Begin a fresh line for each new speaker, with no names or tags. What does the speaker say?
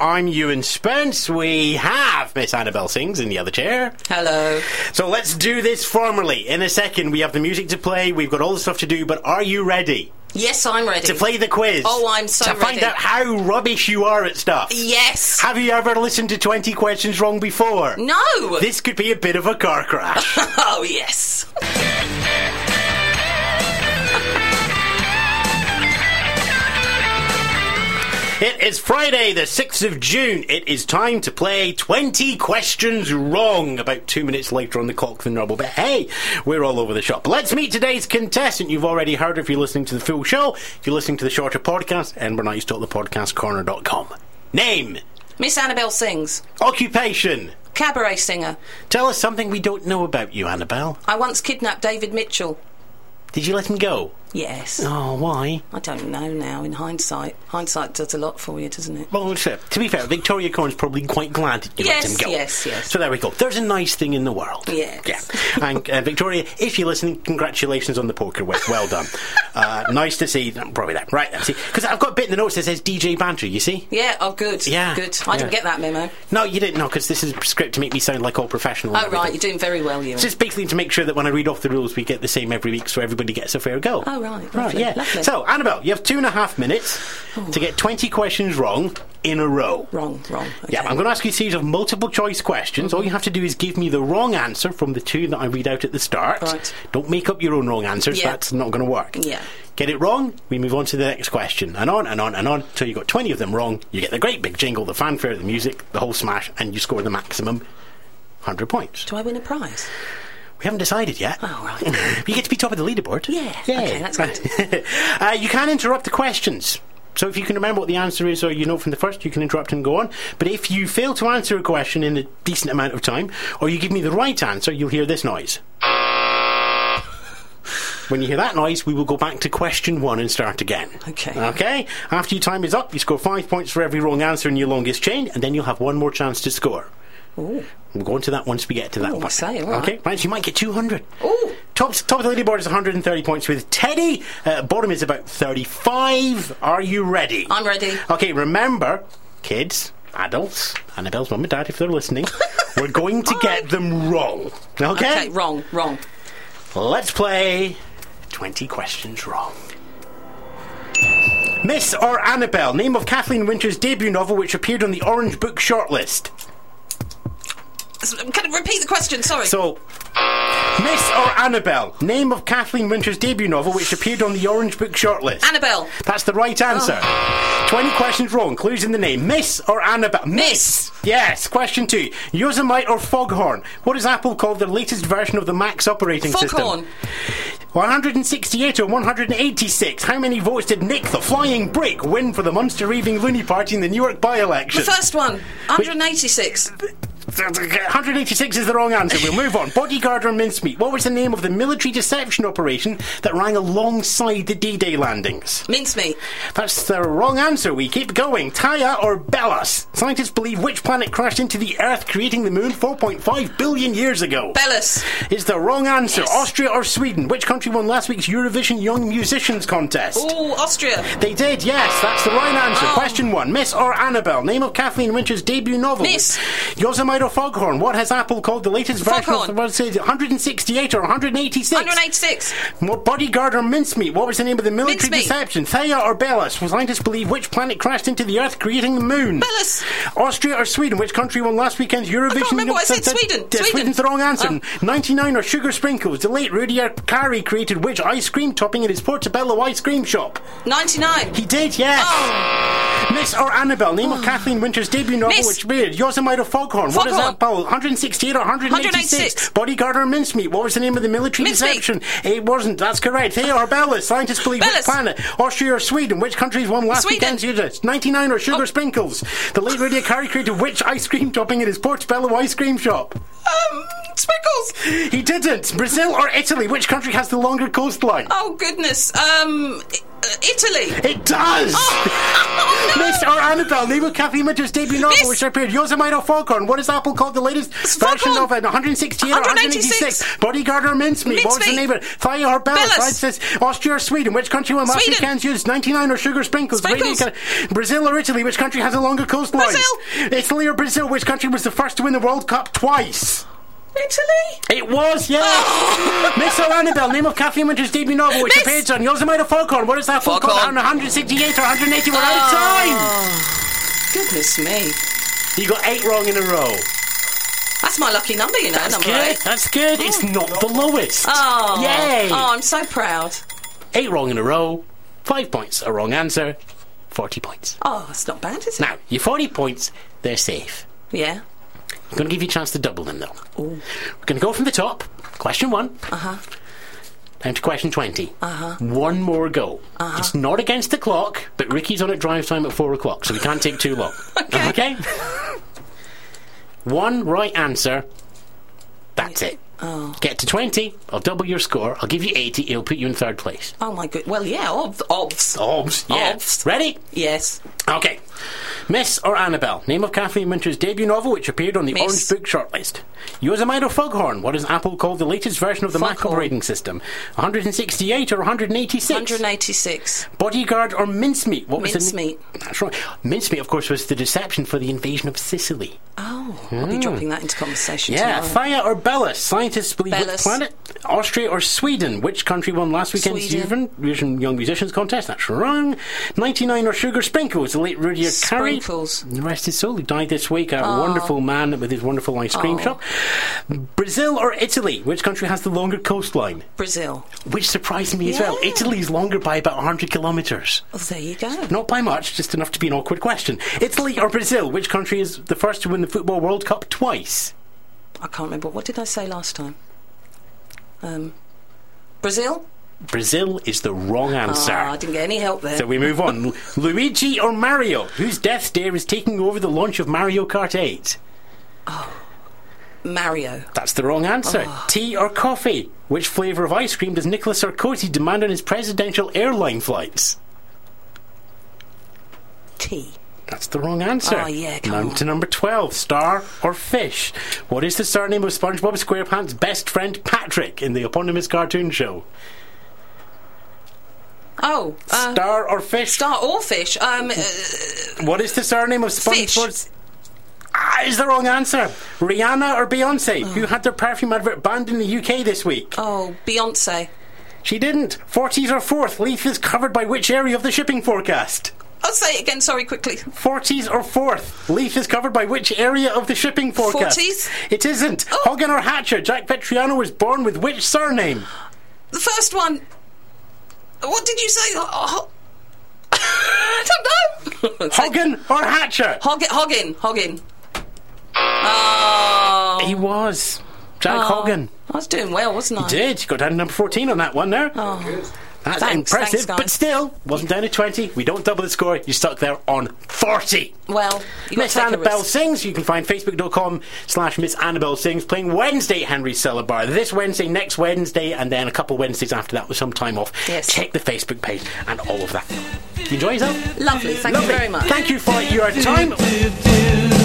I'm Ewan Spence. We have Miss Annabelle Sings in the other chair.
Hello.
So let's do this formally. In a second, we have the music to play, we've got all the stuff to do, but are you ready
Yes, I'm ready.
to play the quiz?
Oh, I'm so
To find
ready.
out how rubbish you are at stuff.
Yes.
Have you ever listened to 20 questions wrong before?
no.
This could be a bit of a car crash.
oh, yes.
It is Friday, the 6th of June. It is time to play 20 questions wrong. About two minutes later on the clock than normal. But hey, we're all over the shop. Let's meet today's contestant. You've already heard her if you're listening to the full show. If you're listening to the shorter podcast, edinburghnights.thepodcastcorner.com. Name,
Miss Annabelle sings.
occupation.
Cabaret singer.
Tell us something we don't know about you, Annabelle.
I once kidnapped David Mitchell.
Did you let him go?
Yes.
Oh, why?
I don't know now in hindsight. Hindsight does a lot for you, doesn't it?
Well, it's, uh, to be fair, Victoria Cohen's probably quite glad that you
Yes,
let him go.
yes, yes.
So there we go. There's a nice thing in the world.
Yes.
Yeah. And uh, Victoria, if you're listening, congratulations on the poker whip. Well done. uh, nice to see. Probably that. Right. See, because I've got a bit in the notes that says DJ banter. You see?
Yeah, oh, good.
Yeah,
Good. I didn't
yeah.
get that memo.
No, you didn't. No, because this is a script to make me sound like all professional. and
Oh, right.
everything.
You're doing very well, you.
It's Just basically to make sure that when I read off the rules, we get the same every week, so everybody gets a fair go.
Oh, right,
right,
lovely,
yeah.
lovely.
So, Annabelle, you have two and a half minutes to get twenty questions wrong in a row.
Wrong, wrong. Okay.
Yeah, I'm going to ask you a series of multiple choice questions. All you have to do is give me the wrong answer from the two that I read out at the start.
Right.
Don't make up your own wrong answers.
Yeah.
That's not going to work.
Yeah.
Get it wrong, we move on to the next question. And on and on and on until you've got 20 of them wrong. You get the great big jingle, the fanfare, the music, the whole smash, and you score the maximum 100 points.
Do I win a prize?
We haven't decided yet.
Oh, right.
you get to be top of the leaderboard.
Yeah. Okay, that's good.
uh, you can interrupt the questions. So if you can remember what the answer is or you know from the first, you can interrupt and go on. But if you fail to answer a question in a decent amount of time, or you give me the right answer, you'll hear this noise. When you hear that noise, we will go back to question one and start again.
Okay.
Okay? After your time is up, you score five points for every wrong answer in your longest chain, and then you'll have one more chance to score.
Ooh.
We'll go on to that once we get to that
Oh, I
one.
say, all right.
Okay, right, you might get 200.
Ooh.
Top, top of the leaderboard is 130 points with Teddy. Uh, bottom is about 35. Are you ready?
I'm ready.
Okay, remember, kids, adults, Annabelle's mum and dad, if they're listening, we're going to get them wrong. Okay?
Okay, wrong, wrong.
Let's play 20 questions wrong. Miss or Annabelle, name of Kathleen Winter's debut novel which appeared on the Orange Book shortlist.
S- Can I repeat the question? Sorry.
So, Miss or Annabelle, name of Kathleen Winter's debut novel, which appeared on the Orange Book shortlist.
Annabelle.
That's the right answer.
Oh.
20 questions wrong, clues in the name. Miss or Annabelle?
Miss.
Yes, question two. Yosemite or Foghorn? What is Apple called the latest version of the Mac's operating
Foghorn.
system? 168 or 186? How many votes did Nick the Flying Brick win for the Monster Raving Loony Party in the Newark by election?
The first one. 186.
186 is the wrong answer. We'll move on. Bodyguard or mincemeat? What was the name of the military deception operation that rang alongside the D-Day landings?
Mincemeat.
That's the wrong answer. We keep going. Taya or Bellas? Scientists believe which planet crashed into the Earth, creating the Moon 4.5 billion years ago.
Bellas.
is the wrong answer.
Yes.
Austria or Sweden? Which country won last week's Eurovision Young Musicians contest?
Ooh, Austria.
They did, yes. That's the right answer.
Oh.
Question one. Miss or Annabelle? Name of Kathleen Winter's debut novel.
Miss.
Yosemite or Foghorn. What has Apple called the latest version of
Foghorn.
the what is it, 168 or 186?
186.
More bodyguard or mincemeat? What was the name of the military
Mincemeat.
deception? Thea or Bellas? Was scientists believe which planet crashed into the Earth, creating the moon?
Bellas.
Austria or Sweden? Which country won last weekend's Eurovision?
remember what I
Th-
said.
th-
Sweden.
th-
Sweden.
Sweden's the wrong answer.
Oh.
99 or Sugar Sprinkles? The late Rudyard Carey created which ice cream topping in his Portobello ice cream shop?
99.
He did, yes.
Oh,
Miss or Annabelle, name of Kathleen Winter's debut novel,
Ah. Miss.
which read Yosemite or Foghorn. What is
Foghorn.
that, Paul? 168 or 186?
186.
Bodyguard or Mincemeat? What was the name of the military
Mincemeat.
deception? It wasn't. That's correct. Hey, or Bellas. Scientists believe which
Bellas.
planet? Austria or Sweden? Which country's won last
Sweden. Oh.
weekend's Euros? 99 or Sugar Sprinkles? The late Radio Carey created which ice cream topping in his Portobello ice cream shop?
um, Sprinkles!
He didn't. Brazil or Italy? Which country has the longer coastline?
Oh, goodness. Um, I- Italy.
It does!
Oh, no.
Miss or Annabelle, name of Kathy Mitch's debut novel,
Miss-
which appeared Yosemite Foghorn. What is Apple called the latest version
Foghorn.
of it? 168 or
186?
186? Bodyguard or Mincemeat? What was the
Mincemeat.
name of it? Thigh or Bellas?
Bellas.
Francis, Austria or Sweden? Which country will master
Sweden.
cans use? 99 or Sugar Sprinkles? The radio
Sprinkles.
can- Brazil or Italy? Which country has a longer coastline?
Brazil.
Italy or Brazil? Which country was the first to win the World Cup twice?
Italy?
It was, yes. Miss Annabelle, name of Kathy Winter's debut novel, which
Miss-
appears on Yosemite Foghorn. What is that folk called?
Foghorn.
168 or 181
Oh.
out of time.
Goodness me.
You got eight wrong in a row.
That's my lucky number, you know, number
Good,
eight.
that's good. It's not the lowest.
Hmm. Oh.
Yay!
Oh, I'm so proud.
Eight wrong in a row, five points, a wrong answer, 40 points.
Oh, that's not bad, is it?
Now, your 40 points, they're safe.
Yeah.
I'm going to give you a chance to double them, though. We're going to go from the top. Question one. Uh huh. Down to question 20. Uh huh. One more go. Uh huh. It's not against the clock, but Ricky's on at drive time at 4 o'clock, so we can't take too long.
Okay.
one right answer. That's it. Oh. Get to 20. I'll double your score. I'll give you 80. It'll put you in third place.
Oh, my good. Well, yeah, obv. obvs.
Obs. Yeah.
Obs.
Ready?
Yes.
Okay. Miss or Annabelle, name of Kathleen Minter's debut novel, which appeared on the
Miss.
Orange Book shortlist. Yosemite or Foghorn, what is Apple called the latest version of the Mac
Foghorn.
operating system? 168 or 186?
186.
Bodyguard or Mincemeat? What was
Mincemeat.
The na- That's right. Mincemeat, of course, was the deception for the invasion of Sicily.
Oh, I'll be dropping that into conversation
Hmm. Yeah.
tomorrow.
Thaya or Bellas, scientists believe which
Bellas.
planet? Austria or Sweden? Which country won last weekend's
Sweden.
Eurovision Young Musicians Contest? That's wrong. 99 or Sugar Sprinkles, the late Rudyard Carey.
Sprinkles.
The rest is soul. He died this week. A wonderful man with his wonderful ice cream
Aw.
shop. Brazil or Italy? Which country has the longer coastline?
Brazil.
Which surprised me as well.
Yeah.
Italy's longer by about 100 kilometres.
Oh, there you go.
Not by much, just enough to be an awkward question. Italy or Brazil? Which country is the first to win the Football World Cup twice?
I can't remember. What did I say last time? Um, Brazil?
Brazil is the wrong answer.
Ah, I didn't get any help there.
So we move on. Lu- Luigi or Mario? Whose death stare is taking over the launch of Mario Kart 8?
Mario.
That's the wrong answer.
Oh.
Tea or coffee? Which flavour of ice cream does Nicolas Sarkozy demand on his presidential airline flights?
T.
That's the wrong answer.
Oh, yeah, come
Now
on.
to number 12. Star or fish? What is the surname of SpongeBob SquarePants' best friend Patrick in the eponymous cartoon show?
Oh, uh,
Star or fish?
star or fish. Um, uh,
What is the surname of
Fish.
SpongeBob's? Ah, is the wrong answer. Rihanna or Beyonce, who had their perfume advert banned in the UK this week?
oh, Beyonce.
She didn't. 40s or 4th, Leaf is covered by which area of the shipping forecast?
I'll say it again, sorry, quickly.
40s or 4th, Leaf is covered by which area of the shipping forecast?
40s?
It isn't.
Oh.
Hogan or Hatcher, Jack Petriano was born with which surname?
The first one. What did you say? Oh, ho- I don't know.
Hogan or Hatcher?
Hog- Hoggin. Hoggin. Oh.
He was. Jack Hogan.
I was doing well, wasn't I?
Did. You got down to number 14 on that one there. That's
Oh. Thanks,
impressive,
thanks, guys.
but still, wasn't down to 20. We don't double the score. You're stuck there on 40.
Well, you got
Miss
to take a
Annabelle
risk.
Sings, you can find facebook.com slash Miss Annabelle Sings playing Wednesday at Henry's Cellar Bar. This Wednesday, next Wednesday, and then a couple Wednesdays after that with some time off.
Yes.
Check the Facebook page and all of that. You enjoy yourself?
Lovely, thank
Lovely.
you very much.
Thank you for your time.